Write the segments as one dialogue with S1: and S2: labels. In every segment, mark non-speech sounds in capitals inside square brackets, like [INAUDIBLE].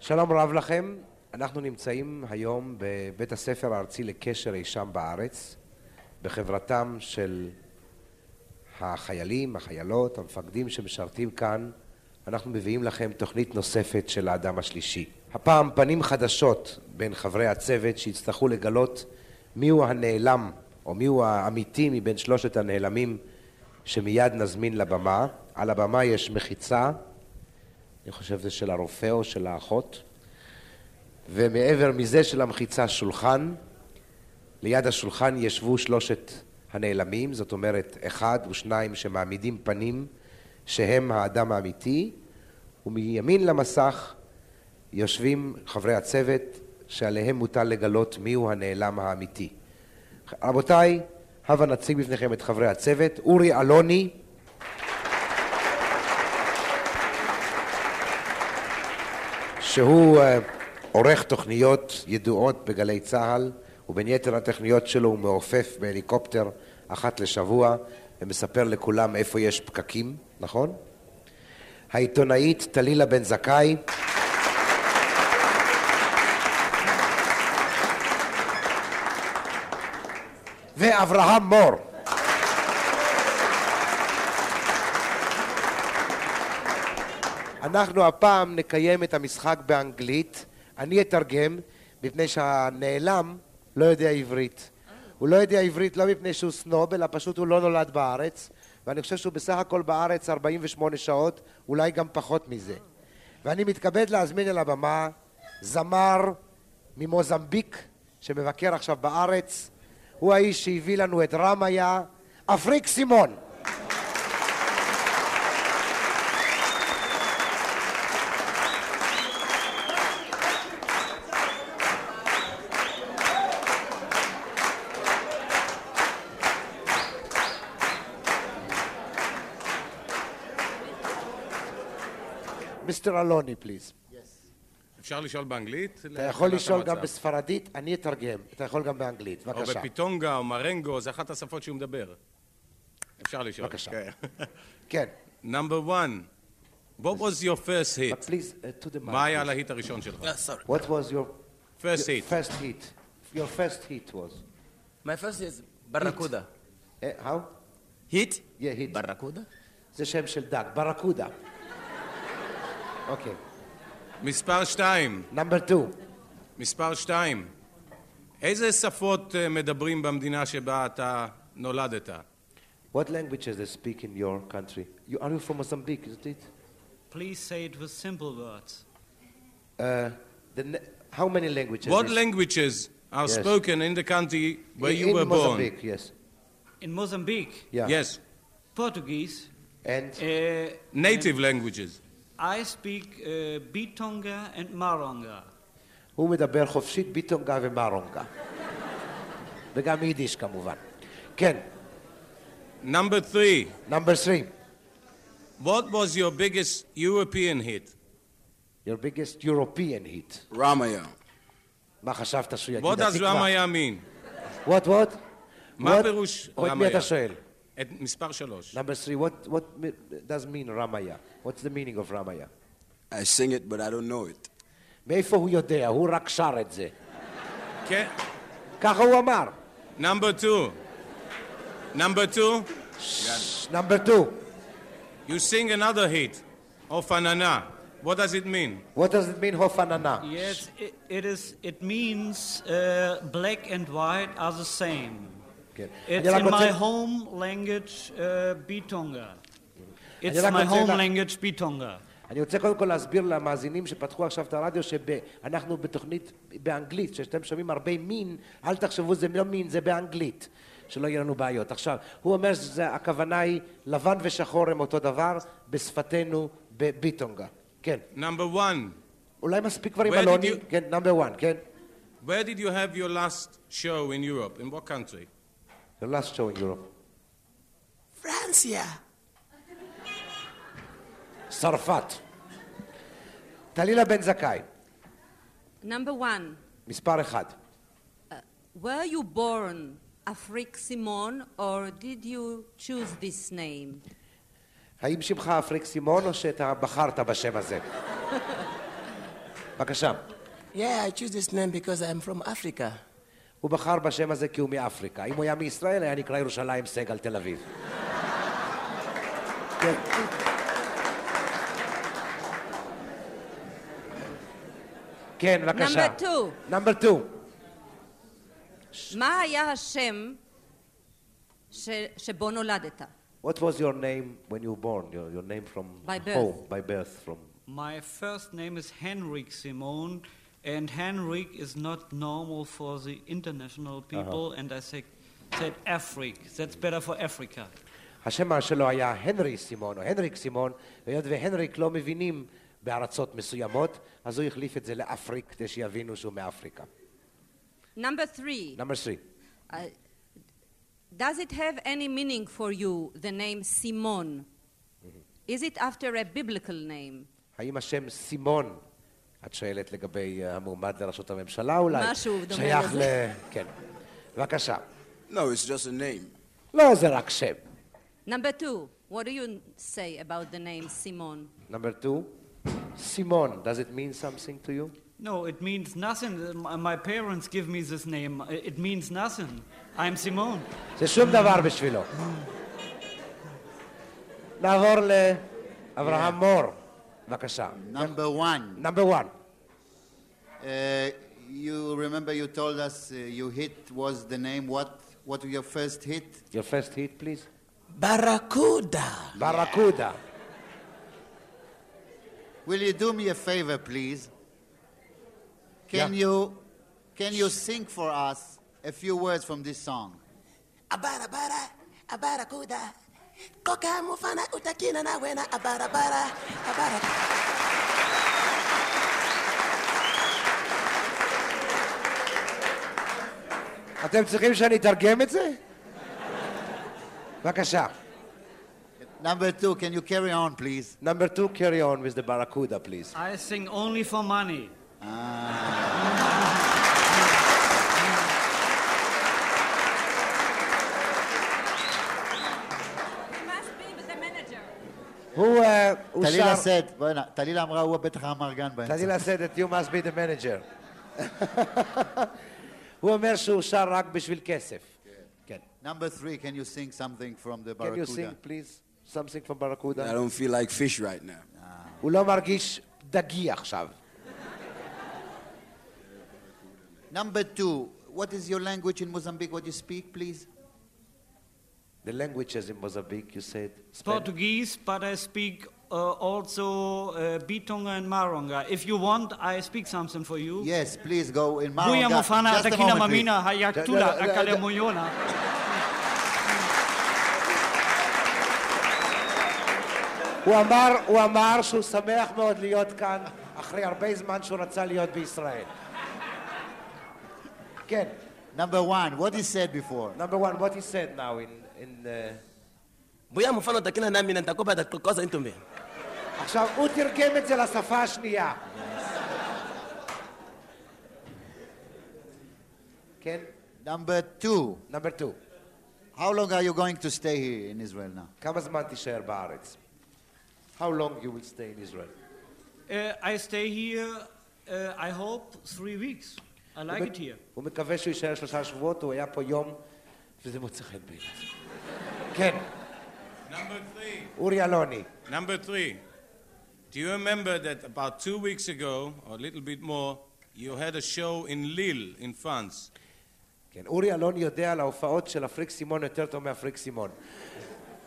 S1: שלום רב לכם, אנחנו נמצאים היום בבית הספר הארצי לקשר אי שם בארץ, בחברתם של החיילים, החיילות, המפקדים שמשרתים כאן, אנחנו מביאים לכם תוכנית נוספת של האדם השלישי. הפעם פנים חדשות בין חברי הצוות שיצטרכו לגלות מיהו הנעלם או מיהו האמיתי מבין שלושת הנעלמים שמיד נזמין לבמה. על הבמה יש מחיצה, אני חושב זה של הרופא או של האחות, ומעבר מזה של המחיצה שולחן. ליד השולחן ישבו שלושת הנעלמים, זאת אומרת אחד ושניים שמעמידים פנים שהם האדם האמיתי, ומימין למסך יושבים חברי הצוות שעליהם מוטל לגלות מיהו הנעלם האמיתי. רבותיי, הבה נציג בפניכם את חברי הצוות. אורי אלוני, שהוא אה, עורך תוכניות ידועות בגלי צה"ל, ובין יתר התוכניות שלו הוא מעופף בהליקופטר אחת לשבוע ומספר לכולם איפה יש פקקים, נכון? העיתונאית טלילה בן זכאי, ואברהם מור. אנחנו הפעם נקיים את המשחק באנגלית, אני אתרגם, מפני שהנעלם לא יודע עברית. הוא לא יודע עברית לא מפני שהוא סנוב, אלא פשוט הוא לא נולד בארץ, ואני חושב שהוא בסך הכל בארץ 48 שעות, אולי גם פחות מזה. ואני מתכבד להזמין אל הבמה זמר ממוזמביק, שמבקר עכשיו בארץ. הוא האיש שהביא לנו את רמיה, אפריק סימון. מיסטר אלוני, פליז.
S2: אפשר לשאול באנגלית?
S1: אתה יכול לשאול גם בספרדית, אני אתרגם. אתה יכול גם באנגלית.
S2: או
S1: בבקשה.
S2: בפיטונגה או מרנגו, זה אחת השפות שהוא מדבר. אפשר לשאול.
S1: בבקשה. כן.
S2: נאמבר 1, what was your first
S1: But
S2: hit?
S1: please, uh, to the mic.
S2: מה היה
S1: please.
S2: להיט הראשון שלך?
S3: Yeah, Ah, sorry.
S1: What was your
S2: First
S1: your
S2: hit.
S1: First hit. Your first hit was.
S3: My first is Barracuda.
S1: Eh, how?
S3: Hit?
S1: Yeah, hit.
S3: Barracuda?
S1: זה שם של דג, ברקודה. אוקיי.
S2: מספר 2,
S1: נאמבר 2.
S2: מספר 2. איזה שפות אה, מדברים במדינה שבה אתה נולדת?
S1: What languages they speak in your country? You, are you from Mozambique, isn't it?
S4: Please say it with simple words.
S1: Uh, the, ne- how many languages?
S2: What
S1: is-
S2: languages are
S1: Yes.
S2: spoken in the country where
S1: in,
S2: you were
S1: in
S2: born?
S1: Mozambique, yes.
S4: In Mozambique,
S1: Yeah.
S2: Yes,
S4: Portuguese,
S1: And
S4: uh,
S2: native languages.
S4: I speak uh, Bitonga and Maronga.
S1: הוא מדבר חופשית ביטונגה ומרונגה. וגם יידיש כמובן. כן,
S2: Number 3,
S1: נאמבר 3.
S2: what was your biggest European hit?
S1: Your biggest European hit.
S5: Ramaya.
S1: מה חשבת שהוא יגיד?
S2: What does
S1: התקווה?
S2: רמיה mean?
S1: What, what?
S2: מה
S1: What?
S2: פירוש
S1: או את מי
S2: רמיה?
S1: אתה שואל?
S2: את מספר שלוש.
S1: Number three, what, what me- does mean רמיה? What's the meaning of רמיה?
S5: I sing it, but I don't know it.
S1: מאיפה הוא יודע? הוא רק שר את זה.
S2: כן.
S1: ככה הוא אמר.
S2: נאמבר 2. נאמבר 2,
S1: נאמבר 2,
S2: you sing another hit, of עננה. What does it mean?
S1: what does it mean הוף עננה?
S4: Yes, it, it is. It means uh, black and white are the same.
S1: כן.
S4: It's
S1: אני רק
S4: in
S1: רוצה-
S4: my home language, uh, Bitonga. It's
S1: רק
S4: my
S1: רוצה
S4: home
S1: לה-
S4: language, Bitonga.
S1: אני רוצה קודם כל להסביר למאזינים שפתחו עכשיו את הרדיו שאנחנו בתוכנית באנגלית, שאתם שומעים הרבה מין, אל תחשבו זה לא מין, זה באנגלית, שלא יהיו לנו בעיות. עכשיו, הוא אומר שהכוונה היא לבן ושחור הם אותו דבר, בשפתנו בביטונגה. כן.
S2: נאמבר 1,
S1: אולי מספיק כבר עם
S2: Where did
S1: אלוני?
S2: you-
S1: כן, נאמבר 1, כן?
S2: where did you have your last show in Europe? In what country?
S1: The last show in Europe.
S5: Francia.
S1: צרפת. טלילה בן זכאי,
S6: Number one,
S1: מספר אחד.
S6: were you born Afrik Simon or did you choose this name?
S1: האם שמך אפריק סימון או שאתה בחרת בשם הזה? בבקשה.
S5: Yeah, I choose this name because I'm from Africa.
S1: הוא בחר בשם הזה כי הוא מאפריקה. אם הוא היה מישראל, היה נקרא ירושלים סגל תל אביב. כן, בבקשה.
S6: Number two.
S1: נאמבר 2.
S6: מה היה השם ש... שבו נולדת?
S1: What was your name when you were born? Your, your name from
S6: By birth.
S1: home, by birth, from
S4: My first name is Henrik Simon, and Henrik is not normal for the international
S7: Uh-huh.
S4: people, and I say, said Afrik. That's better for Africa.
S1: השם שלו היה הנרי סימון או הנריק סימון, והיות והנריק לא מבינים בארצות מסוימות, אז הוא החליף את זה לאפריק כדי שיבינו שהוא מאפריקה.
S6: Number three.
S1: נאמר 3.
S6: Uh, does it have any meaning for you, the name Simon? Is it after a biblical name?
S1: האם השם סימון, את שואלת לגבי אה, המועמד לראשות הממשלה אולי?
S6: משהו דומה
S1: שייך ל...
S6: לזה.
S1: כן. בבקשה.
S5: No, it's just a name.
S1: לא, זה רק שם.
S6: Number two, what do you say about the name Simon?
S1: נאמבר 2. סימון, does it mean something to you?
S4: No, it means nothing. My my parents give me this name. I- It means nothing. I'm Simon.
S1: זה שום דבר בשבילו. נעבור לאברהם מור. בבקשה.
S7: Number one,
S1: נאמבר 1.
S7: uh, you remember you told us uh, your hit was the name. What what your first hit?
S1: Your first hit, please.
S5: Barracuda.
S1: Barracuda.
S7: Will you do me a favor, please? Can
S1: Yeah.
S7: you can you sing for us a few words from this song?
S5: Abarabara, abaracuda. Koka mufana utakina na wena abarabara, abara.
S1: אתם צריכים שאני אתרגם את זה? בבקשה.
S7: Number two, can you carry on, please?
S1: נאמבר 2, carry on with the barracuda, please.
S4: I sing only for money.
S6: You must be with the manager.
S1: הוא אה, הוא
S7: טלילה
S1: שר...
S7: said, בוא'נה, טלילה אמרה, הוא בטח אמרגן באמצע.
S1: טלילה said that you must be the manager. [LAUGHS] הוא אומר שהוא שר רק בשביל כסף. כן.
S7: Number three, can you sing something from the
S1: Can you
S7: Barracuda?
S1: sing, please, something from
S5: I
S1: barracuda?
S5: don't feel like fish right now.
S1: הוא לא מרגיש דגי עכשיו.
S7: Number two, what is your language in Mozambique? What you speak, please?
S1: The languages in Mozambique, you said... Spanish.
S4: Portuguese, but I speak uh, also uh, Bitunga and Maronga. If you want, I speak something for you.
S7: Yes, please go in
S4: Buya
S7: Maronga.
S4: mufana
S7: Just a
S4: atakina
S7: moment, please.
S1: Da-
S4: mamina
S1: da-
S4: hayaktula
S1: da-
S4: akale
S1: da-
S4: moyona.
S1: הוא אמר, הוא אמר שהוא שמח מאוד להיות כאן אחרי הרבה זמן שהוא רצה להיות בישראל. כן,
S7: Number one, what is said before?
S1: number one, what he said now in... in uh...
S5: Buya mufana utakina na mina nitakupa kokoza intumbi.
S1: עכשיו, הוא תרגם את זה לשפה השנייה. כן,
S7: Number two,
S1: number two,
S7: how long are you going to stay here in Israel now?
S1: כמה זמן תישאר בארץ? How long you will stay in Israel?
S4: Uh, I stay here, uh, I hope, three weeks. I like it here.
S1: הוא מקווה שהוא יישאר שלושה שבועות, הוא היה פה יום, וזה מוצא חן בעיניו. כן,
S2: Number three.
S1: אורי אלוני.
S2: Number three, do you remember that about two weeks ago, or a little bit more, you had a show in Lille, in France?
S1: כן, אורי אלון יודע על ההופעות של אפריק סימון יותר טוב מאפריק סימון.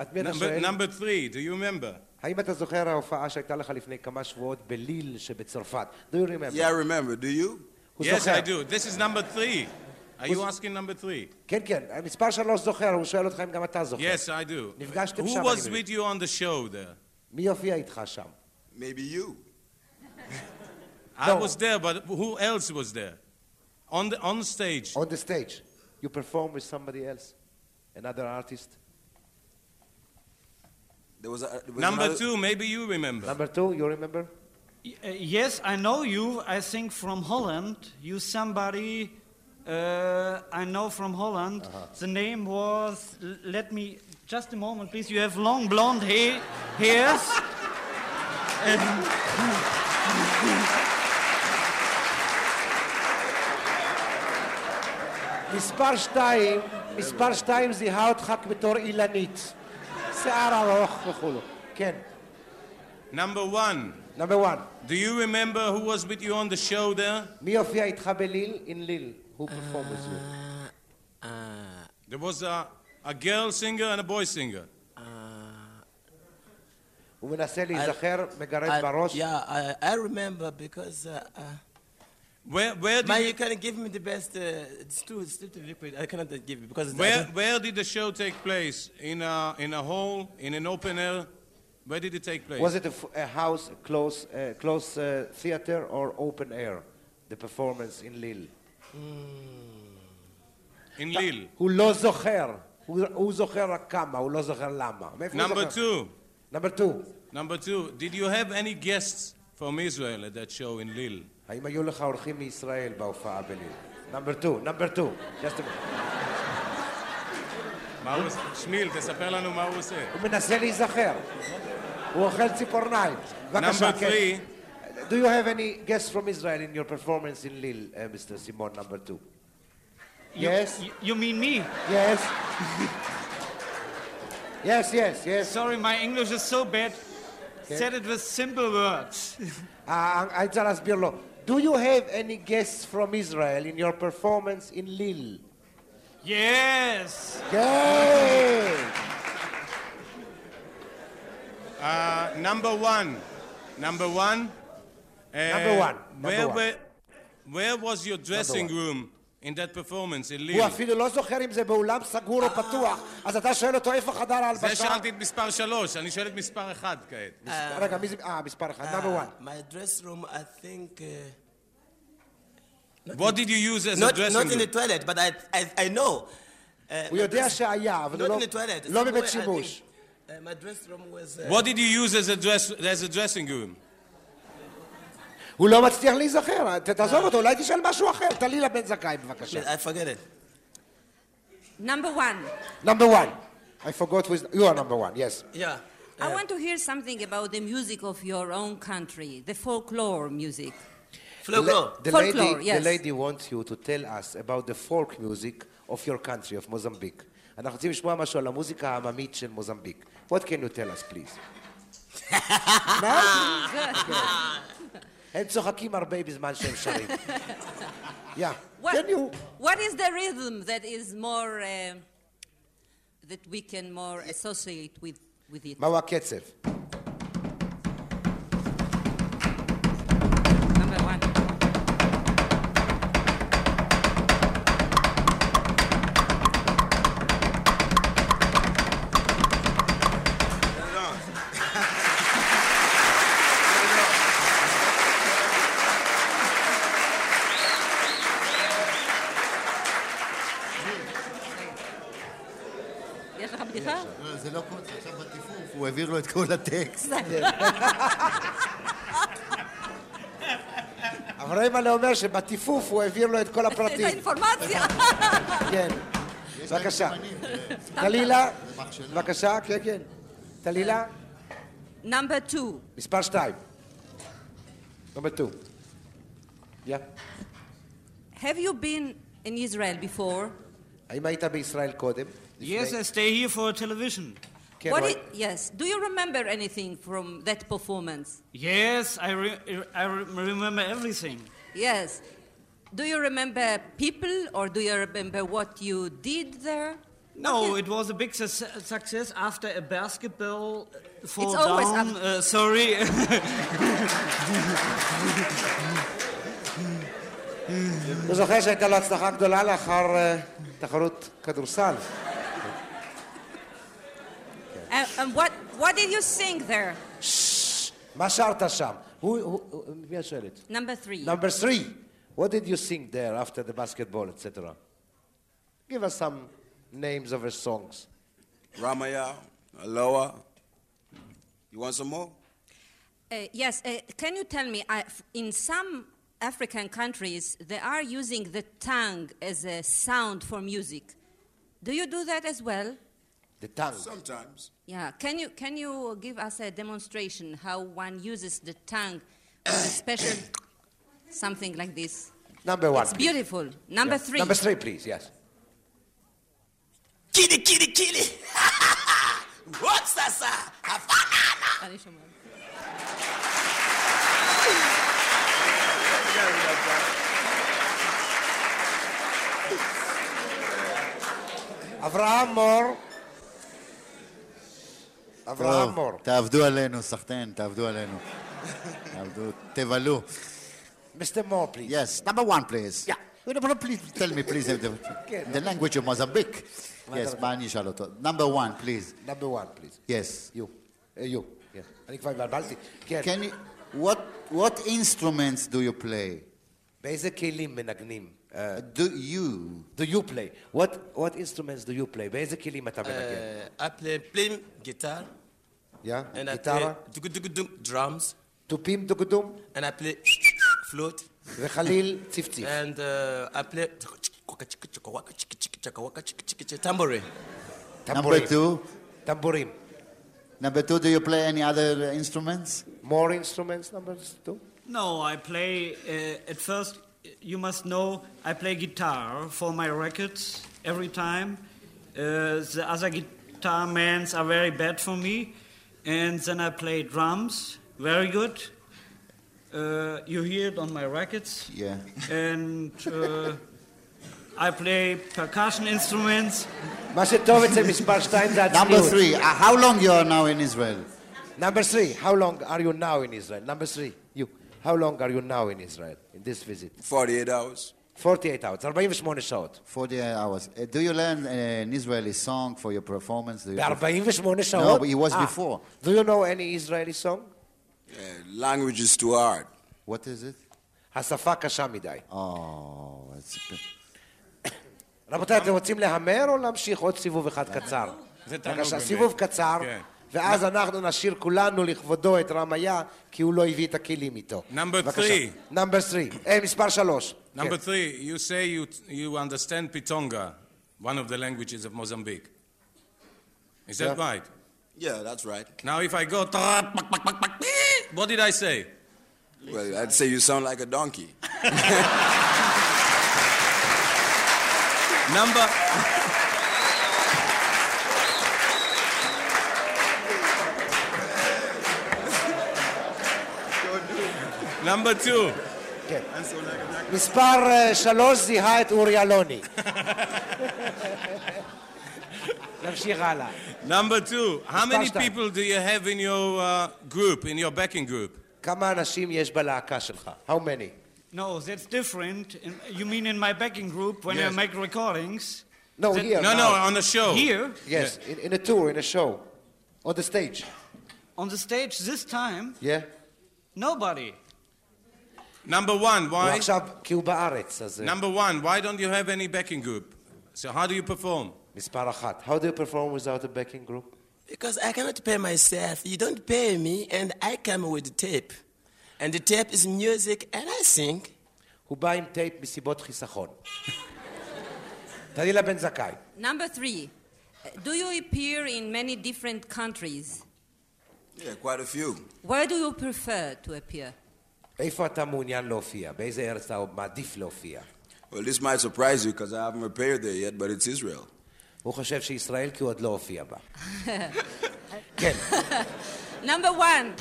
S1: את מי אתה
S2: Number,
S1: שואל?
S2: number three, do you remember?
S1: האם אתה זוכר ההופעה שהייתה לך לפני כמה שבועות בליל שבצרפת? Do you remember?
S5: Yeah, I remember. Do you?
S1: הוא
S2: yes,
S1: זוכר.
S2: I do. This is number three. Are you asking number three?
S1: כן, כן, מספר שלוש זוכר, הוא שואל אותך אם גם אתה זוכר.
S2: Yes, I do.
S1: נפגשתם שם,
S2: Who
S1: אני
S2: was
S1: מבין.
S2: with you on the show there?
S1: מי יופיע איתך שם?
S5: Maybe you.
S2: I was there, but who else was there? On, the, on stage.
S1: On the stage. You perform with somebody else? Another artist?
S5: There was a there was
S2: Number
S5: another-
S2: two, maybe you remember.
S1: Number two, you remember?
S4: Y- uh, yes, I know you. I think from Holland. You somebody uh, I know from Holland. The name was. l- Let me just a moment, please. You have long blonde hair, hairs. And-
S8: מספר שתיים, מספר שתיים זיהה אותך בתור אילנית. שיער ארוך וכולו. כן.
S2: Number one.
S8: Number one.
S2: Do you remember who was with you on the show there?
S8: מי הופיע איתך בליל? In ליל. Who performed with you?
S2: There was a, a girl singer and a boy singer.
S1: הוא מנסה להיזכר,
S9: אה,
S1: מגרד בראש.
S9: Yeah, I, I remember because. Uh, uh,
S2: where where did
S9: man,
S2: you-
S9: you,
S1: [LAUGHS]
S9: can give me the best? Uh, it's too it's too liquid. I cannot give you because.
S2: Where, where did the show take place? In a, in a hall? In an open air? Where did it take place?
S1: Was it a, f- a house, a close, uh, close uh, theater or open air? The performance in ליל.
S2: In Lille.
S1: הוא לא זוכר. הוא, הוא זוכר רק כמה, הוא לא זוכר למה. מאיפה הוא
S2: Number
S1: זוכר?
S2: two.
S1: Number two.
S2: Number two. Did you have any guests from Israel at that show in Lille?
S1: האם היו לך אורחים מישראל בהופעה בליל? נאמבר 2, נאמבר 2.
S2: מה הוא עושה? שמיל, תספר לנו מה הוא עושה.
S1: הוא מנסה להיזכר. הוא אוכל ציפורניים. בבקשה,
S2: Number
S1: כן.
S2: three.
S1: Do you have any guests from Israel in your performance in Lille, uh, Mr. Simon, number two?
S4: You-
S1: Yes?
S4: You, you mean me?
S1: Yes? yes, yes, yes.
S4: Sorry, my English is so bad. Said it with simple words. [LAUGHS]
S1: אה, אני צריך להסביר לו. Do you have any guests from Israel in your performance in Lille?
S4: yes.
S1: כן!
S2: Uh, number one. Number one. Uh,
S1: Number one. Number
S2: where,
S1: one.
S2: Were, where was your dressing room in that performance in
S1: הוא
S2: Lille?
S1: אפילו לא זוכר אם זה באולם סגור או פתוח, אז אתה שואל אותו איפה חדר
S2: זה
S1: ההלבשה?
S2: שאלתי את מספר שלוש, אני שואל את מספר אחד כעת.
S1: רגע, מי זה? אה, מספר אחד, number one.
S9: My dress room, I think. Uh,
S2: What did you use as
S9: not
S2: a dressing
S9: not in the
S2: room?
S9: toilet, but I I, I know. Uh,
S1: הוא יודע שהיה, אבל הוא
S9: not
S1: לא-
S9: in the toilet.
S1: לא
S9: Somewhere,
S1: בבית
S9: I
S1: שימוש.
S9: think, Uh, my dress room was. Uh,
S2: What did you use as a, dress, as a dressing room?
S1: הוא לא מצליח להיזכר, ת- תעזוב אותו, אולי תשאל משהו אחר. טלילה בן זכאי, בבקשה.
S9: I forget it.
S6: Number one,
S1: number one. I forgot who is... You are number one, yes.
S9: Yeah.
S6: I want to hear something about the music of your own country, the folklore music.
S9: Folklore.
S1: The
S6: Folklore,
S1: lady, the
S6: yes.
S1: lady wants you to tell us about the folk music of your country, of Mozambique. אנחנו רוצים לשמוע משהו על המוזיקה העממית של מוזמביק. What can you tell us, please? מה? הם צוחקים הרבה בזמן שהם
S6: [LAUGHS]
S1: שרים. Yeah.
S6: What,
S1: Can you...
S6: what is the rhythm that is more, uh, that we can more associate with, with it?
S1: מהו הקצב?
S6: Number one. יש לך בדיחה?
S7: לא, זה לא קוד, זה עכשיו בטיפוף, הוא העביר לו את כל הטקסט.
S1: אבל ריימלה אומר שבטיפוף הוא העביר לו את כל
S6: את
S1: הפרטים.
S7: [LAUGHS]
S6: האינפורמציה.
S1: כן.
S7: יש להם
S1: בבקשה.
S7: סימנים, תראה.
S1: טלילה,
S7: זה אח שלה.
S1: בבקשה, כן, כן. טלילה,
S6: Number two.
S1: מספר שתיים. נאמר 2. יא.
S6: Have you been in Israel before?
S1: האם היית בישראל קודם?
S4: Yes,
S1: לפני?
S4: I stay here for television.
S1: כן,
S6: What
S1: אבל-
S6: i- yes. Do you remember anything from that performance?
S4: Yes, I, re- I re- remember everything.
S6: Yes. Do you remember people or do you remember what you did there?
S4: No, it was a big sus- success after a basketball uh, fall
S6: It's always
S4: down.
S6: up-
S4: Uh, sorry. [LAUGHS]
S1: הוא זוכר שהייתה לו הצלחה גדולה לאחר אה, תחרות כדורסל.
S6: And, and what, what did you sing there?
S1: מה שרת שם? הוא- הוא- הוא- מי השואלת?
S6: Number three.
S1: Number three. What did you sing there after the basketball, etc.? Give us some names of your songs.
S5: Ramaya, Aloha. You want some more?
S6: Uh, yes. Uh, can you tell me, I, in some African countries, they are using the tongue as a sound for music. Do you do that as well?
S1: The tongue.
S5: Sometimes.
S6: Yeah. Can you can you give us a demonstration how one uses the tongue, with a special something like this?
S1: Number one.
S6: It's beautiful. Number
S1: Yeah.
S6: three.
S1: Number three, please, yes.
S9: קילי, קילי, קילי! וואטסאסה! הפאננה!
S6: אני שומעת.
S1: אברהם מור. אברהם
S7: טוב,
S1: מור.
S7: תעבדו עלינו, סחטיין, תעבדו עלינו. תעבדו, תבלו.
S1: Mr. Moore, please.
S7: Yes, number one, please. Yeah. Please tell me, please, the, the language of Mozambique. Yes, מה אני אשאל אותו? Number one, please.
S1: number one, please.
S7: Yes.
S1: You. Uh, you. Yeah. אני כבר התבלבלתי. כן.
S7: Can you, what, what instruments do you play?
S1: באיזה כלים מנגנים? Uh,
S7: Do you?
S1: do you play? What, what instruments do you play? באיזה כלים אתה מנגן?
S9: I play, play guitar
S1: Yeah?
S9: and I
S1: גיטרה?
S9: play dugu- dugu- dugu- drums
S1: תופים דוגדום?
S9: and I play flute
S1: וחליל צפציף.
S9: and uh, I play tambourine.
S1: טמבורים.
S7: Number two?
S1: טמבורים.
S7: Number two, do you play any other instruments?
S1: More instruments, number two?
S4: No, I play. Uh, at first, you must know I play guitar for my records every time. Uh, the other guitar mans are very bad for me, and then I play drums, very good. Uh, you hear it on my records,
S7: Yeah.
S4: and uh, I play percussion instruments.
S1: מה שטוב אצל מספר 2 זה
S7: Number
S1: הצניעות.
S7: three, uh, how long you are now in Israel?
S1: Number three, how long are you now in Israel? Number three, you. How long are you now in Israel, in this visit?
S5: 48 hours.
S1: 48 hours, 48 שעות.
S7: 48 hours. Uh, do you learn uh, an Israeli song for your performance? Do you perf-
S1: ב-48 שעות?
S7: but it was
S1: אה.
S7: before.
S1: Do you know any Israeli song?
S5: Uh, language is too hard.
S7: what is it?
S1: השפה קשה מדי.
S7: Oh, it's
S1: רבותיי, אתם רוצים להמר או להמשיך עוד סיבוב אחד קצר?
S2: זה תענוג
S1: בבקשה,
S2: באמת.
S1: סיבוב קצר,
S2: כן.
S1: ואז אנחנו נשאיר כולנו לכבודו את רמיה, כי הוא לא הביא את הכלים איתו.
S2: Number
S1: בבקשה.
S2: three.
S1: Number three. אה, מספר שלוש.
S2: Number
S1: כן.
S2: three, you say you, you understand Pitonga, one of the languages of Mozambique. Is that
S1: Yeah.
S2: right?
S5: Yeah, that's right.
S2: Now, if I go, eh, what did I say?
S5: Well, I'd say you sound like a donkey.
S2: Number. Number two.
S1: כן. מספר אה, שלוש זיהה את אורי אלוני. [LAUGHS] נמשיך הלאה.
S2: Number two. How many
S1: Star.
S2: people do you have in your uh, group, in your backing group?
S1: כמה אנשים יש בלהקה שלך? How many?
S4: No, that's different. In- You mean in my backing group when
S2: Yes. Oh.
S4: I make recordings?
S1: No,
S4: That-
S1: here.
S2: No, no,
S1: now.
S2: on the show.
S4: Here,
S1: Yes, in, in a tour, in a show. On the stage.
S4: on the stage this time,
S1: Yeah?
S4: nobody.
S2: Number one.
S1: הוא
S2: Why?
S1: עכשיו, כי הוא בארץ, אז... אה,
S2: Number one. Why don't you have any backing group? So how do you perform?
S1: מספר אחת. How do you perform without a backing group?
S9: Because I cannot pay myself. You don't pay me, and I come with the tape. And the tape is music, and I sing.
S1: הוא בא עם טייפ מסיבות חיסכון.
S2: [LAUGHS]
S1: דנילה בן זכאי.
S6: Number three, uh, do you appear in many different countries?
S5: Yeah, quite a few.
S6: Where do you prefer to appear?
S1: איפה אתה מעוניין להופיע? באיזה ארץ אתה מעדיף להופיע?
S5: Well, this might surprise you because I haven't appeared there yet, but it's Israel.
S1: הוא חושב שישראל כי הוא עוד לא הופיע
S6: [LAUGHS]
S1: בה. כן.
S6: Number one,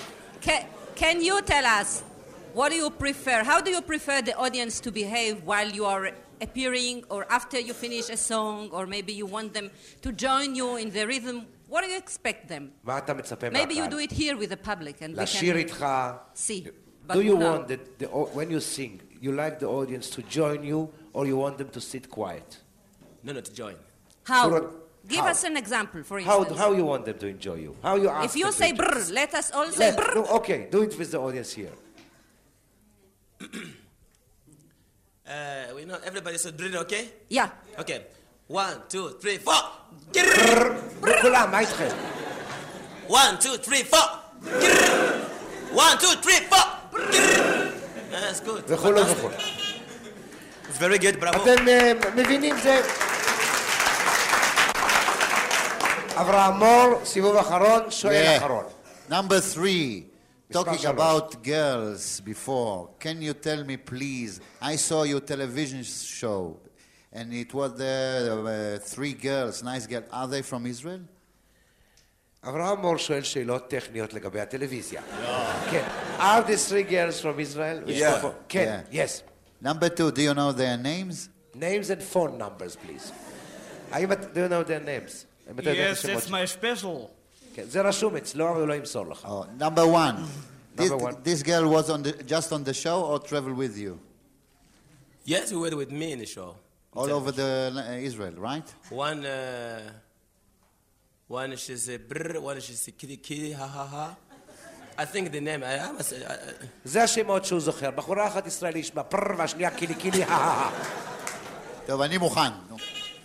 S6: ca- can you tell us what do you prefer? How do you prefer the audience to behave while you are appearing or after you finish a song or maybe you want them to join you in the rhythm? What do you expect them?
S1: מה אתה מצפה
S6: Maybe you do
S1: מהקהל?
S6: it here with the public and we
S1: לשיר
S6: can
S1: איתך.
S6: see. But
S1: Do you
S6: now-
S1: want that the, au- when you sing, you like the audience to join you or you want them to sit quiet?
S9: No, no, to join.
S1: You
S6: How?
S1: don't-
S6: Give
S1: how?
S6: us an example, for
S1: How,
S6: instance.
S1: how you want them to enjoy you? How you ask
S6: if you
S1: them
S6: say
S1: to enjoy-
S6: brr, let us all say
S1: Let-
S6: brr.
S1: no, okay, do it with the audience here.
S9: Uh, we know everybody should breathe, okay?
S6: Yeah.
S9: Okay. One, two, three, four.
S1: כולם, מה איתכם?
S9: One, two, three, four. One, two, three, four. That's good.
S6: [LAUGHS]
S1: וכולו וכולו.
S9: It's very good, bravo.
S1: אתם אה, מבינים
S6: [LAUGHS]
S1: זה... אברהם מור, סיבוב אחרון, שואל
S7: Yeah.
S1: אחרון.
S7: Number three, talking
S1: שלוש.
S7: about girls before. Can you tell me, please? I saw your television show. And it was there, there were three girls, nice girls. Are they from Israel?
S1: אברהם מור שואל שאלות טכניות לגבי הטלוויזיה. כן. Are these three girls from Israel?
S5: Yeah.
S1: כן,
S7: Yeah.
S1: yes.
S7: Number two, do you know their names?
S1: Names and phone numbers, please. האם את... Do you know their names? האם אתה יודע את
S4: Yes,
S1: השמות
S4: that's
S1: שלהם?
S4: my special.
S1: כן, זה רשום אצלו, אבל הוא לא ימסור לך.
S7: Oh, number one. This,
S1: Number one.
S7: this girl was on the, just on the show or travel with you?
S9: Yes, we were with me in the show.
S7: All over the uh, Israel, right?
S9: One, uh, one she said brr, one she said kitty kitty, ha ha ha. I think the name, I, I must say, I, I-
S1: זה השמות שהוא זוכר. בחורה אחת ישראלית שמה פרר והשנייה קילי קילי, הא
S7: טוב, אני מוכן. נו.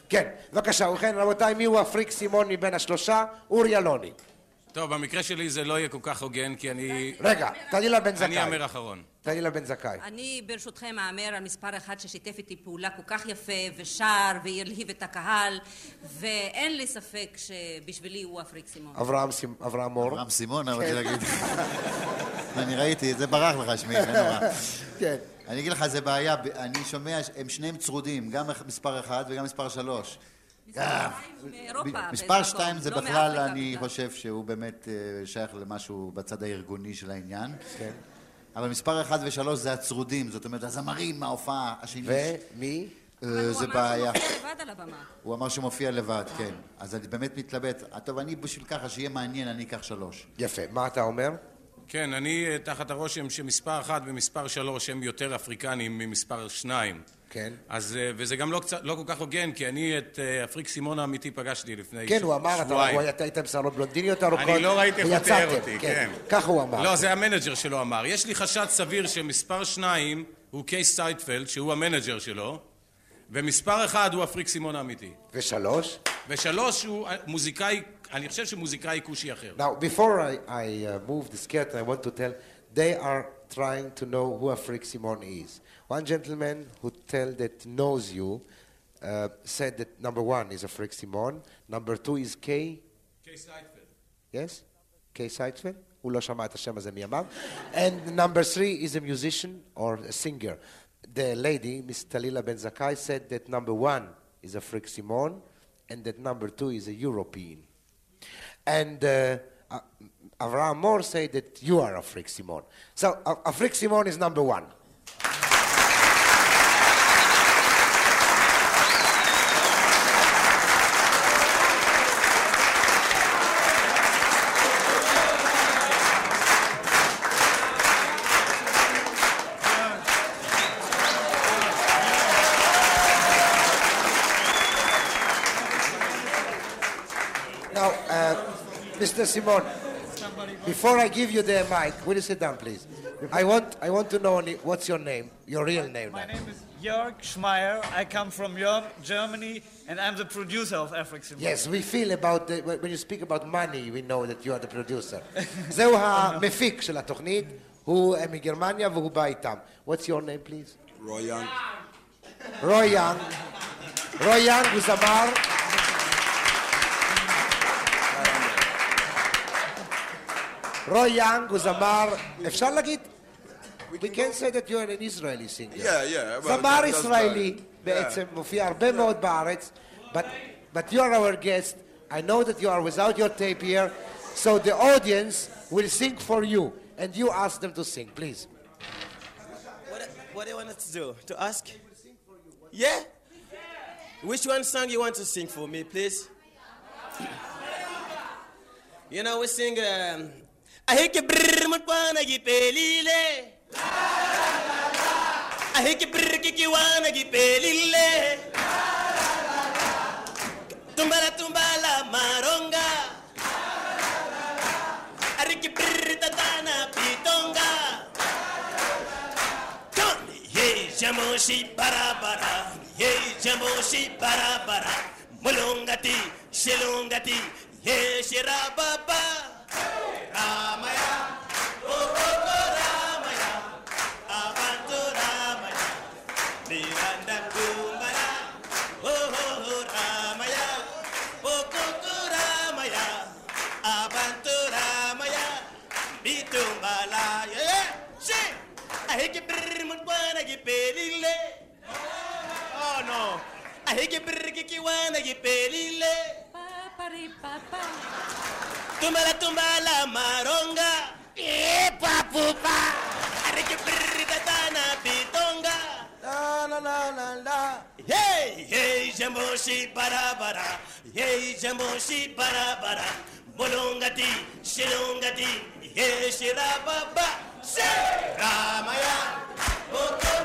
S1: כן, בבקשה, ובכן, רבותיי, מי הוא הפריק סימון מבין השלושה? אורי אלוני.
S2: טוב, במקרה שלי זה לא יהיה כל כך הוגן, כי אני...
S1: רגע, תהילה בן
S2: אני
S1: זכאי.
S2: האמר אחרון.
S1: תהילה בן זכאי.
S6: אני ברשותכם אאמר על מספר אחד ששיתף איתי פעולה כל כך יפה ושר והלהיב את הקהל ואין לי ספק שבשבילי הוא אפריק סימון.
S1: אברהם סימ- אברהם מור.
S7: רם סימון,
S6: כן.
S7: אני רוצה להגיד. אני ראיתי, זה ברח לך שמי, זה נורא.
S1: כן.
S7: אני אגיד לך, זה בעיה, ב- אני שומע, ש- הם שניהם צרודים, גם אח- מספר אחד וגם מספר שלוש.
S6: מאירופה,
S7: ב-
S6: באיזה
S7: מספר
S6: מקום,
S7: שתיים זה
S6: לא
S7: בכלל,
S6: מאפריקה
S7: אני
S6: בכלל.
S7: חושב שהוא באמת אה, שייך למשהו בצד הארגוני של העניין. כן. אבל מספר אחד ושלוש זה הצרודים, זאת אומרת, הזמרים מההופעה השני.
S1: ומי?
S6: אבל
S7: אה,
S6: הוא
S7: זה
S6: אמר
S7: בעיה.
S6: שהוא מופיע לבד על הבמה.
S7: הוא אמר שהוא מופיע לבד, כן. אז אני באמת מתלבט. אה, טוב, אני בשביל ככה, שיהיה מעניין, אני אקח שלוש.
S1: יפה. מה אתה אומר?
S2: כן, אני אה, תחת הרושם שמספר אחת ומספר שלוש הם יותר אפריקנים ממספר שניים.
S1: כן.
S2: אז, אה, וזה גם לא, קצת, לא כל כך הוגן, כי אני את אה, אפריק סימון האמיתי פגשתי לפני
S1: כן,
S2: ש-
S1: הוא אמר, אתה-
S2: שבועיים.
S1: הוא היה- אתה היית עם שערות בלונדיניות ארוכות.
S2: אני לא ראיתי איך הוא תיאר
S1: ויצאתם,
S2: אותי, כן.
S1: ככה הוא אמר.
S2: לא, זה המנג'ר שלו אמר. יש לי חשד סביר שמספר שניים הוא קייס סייטפלד, שהוא המנג'ר שלו, ומספר אחד הוא אפריק סימון האמיתי.
S1: ושלוש?
S2: ושלוש הוא אה, מוזיקאי, אני חושב שמוזיקאי כושי אחר.
S1: Now, before I, I uh, move this curtain, I want to tell they are trying to know who Afrik Simon is. One gentleman who tell that knows you uh, said that number one is Afrik Simon, number two is K,
S2: קייס סייטפלד.
S1: yes, K Seitfeld. הוא לא שמע את השם הזה מימיו. And number three is a musician or a singer. The lady, Miss Talila Ben Zakai, said that number one is Afrik Simon and that number two is a European. And uh, uh, Avraham Moore said that you are Afrik Simon. So uh, Afrik Simon is number one. Now, uh, Mr. Simon, before I give you the mic, will you sit down, please? I want, I want to know only what's your name, your real name.
S4: My
S1: now.
S4: name is Jörg Schmeier. I come from Ger- Germany, and I'm the producer of Afric Simon.
S1: Yes, we feel about, the, when you speak about money, we know that you are the producer. [LAUGHS] זהו המפיק של התוכנית, הוא אה, מגרמניה והוא בא איתם. What's your name, please?
S5: Roy Young.
S1: רוי יאנג. רוי יאנג הוא זמר. רוי יאנג הוא זמר, אפשר להגיד? We can say that you are an Israeli singer.
S5: Yeah, yeah, well,
S1: זמר
S5: that's
S1: ישראלי
S5: right.
S1: בעצם, מופיע הרבה מאוד בארץ, but, but you are our guest, I know that you are without your tape here, so the audience will sing for you, and you ask them to sing, please.
S9: what, what do you want us to do? To ask? Yeah? Which one song you want to sing for me, please? you know, we sing, um, I hate you, brr, mutwana, gipelile. I hate you, brr, kikiwana, gipelile. Tumbala, tumbala, maronga. Ariki, brr, tatana, pitonga. Ye jamoshi barabara, ye jamoshi barabara, mulungati, shilungati, ye shirababa, Ramaya, Okoko Ramaya, Abantu Ramaya, Oh, Miranda Kumbaya, Oho Ramaya, Okoko Ramaya, Abantu Ramaya, Bitumbala, yeah, shit! I hate you, brrr, mutwana, gipelile. Oh no. هيجي برجيكي وانا جبالي ليه تومالا تومالا مارونجا ايه بابو با هرجي بردتانا بيتونجا لا لا لا لا لا هي هي جموشي برا برا هي جموشي برا برا بولونغتي شلونغتي هي شرابا با شرامايا بوكو Oh,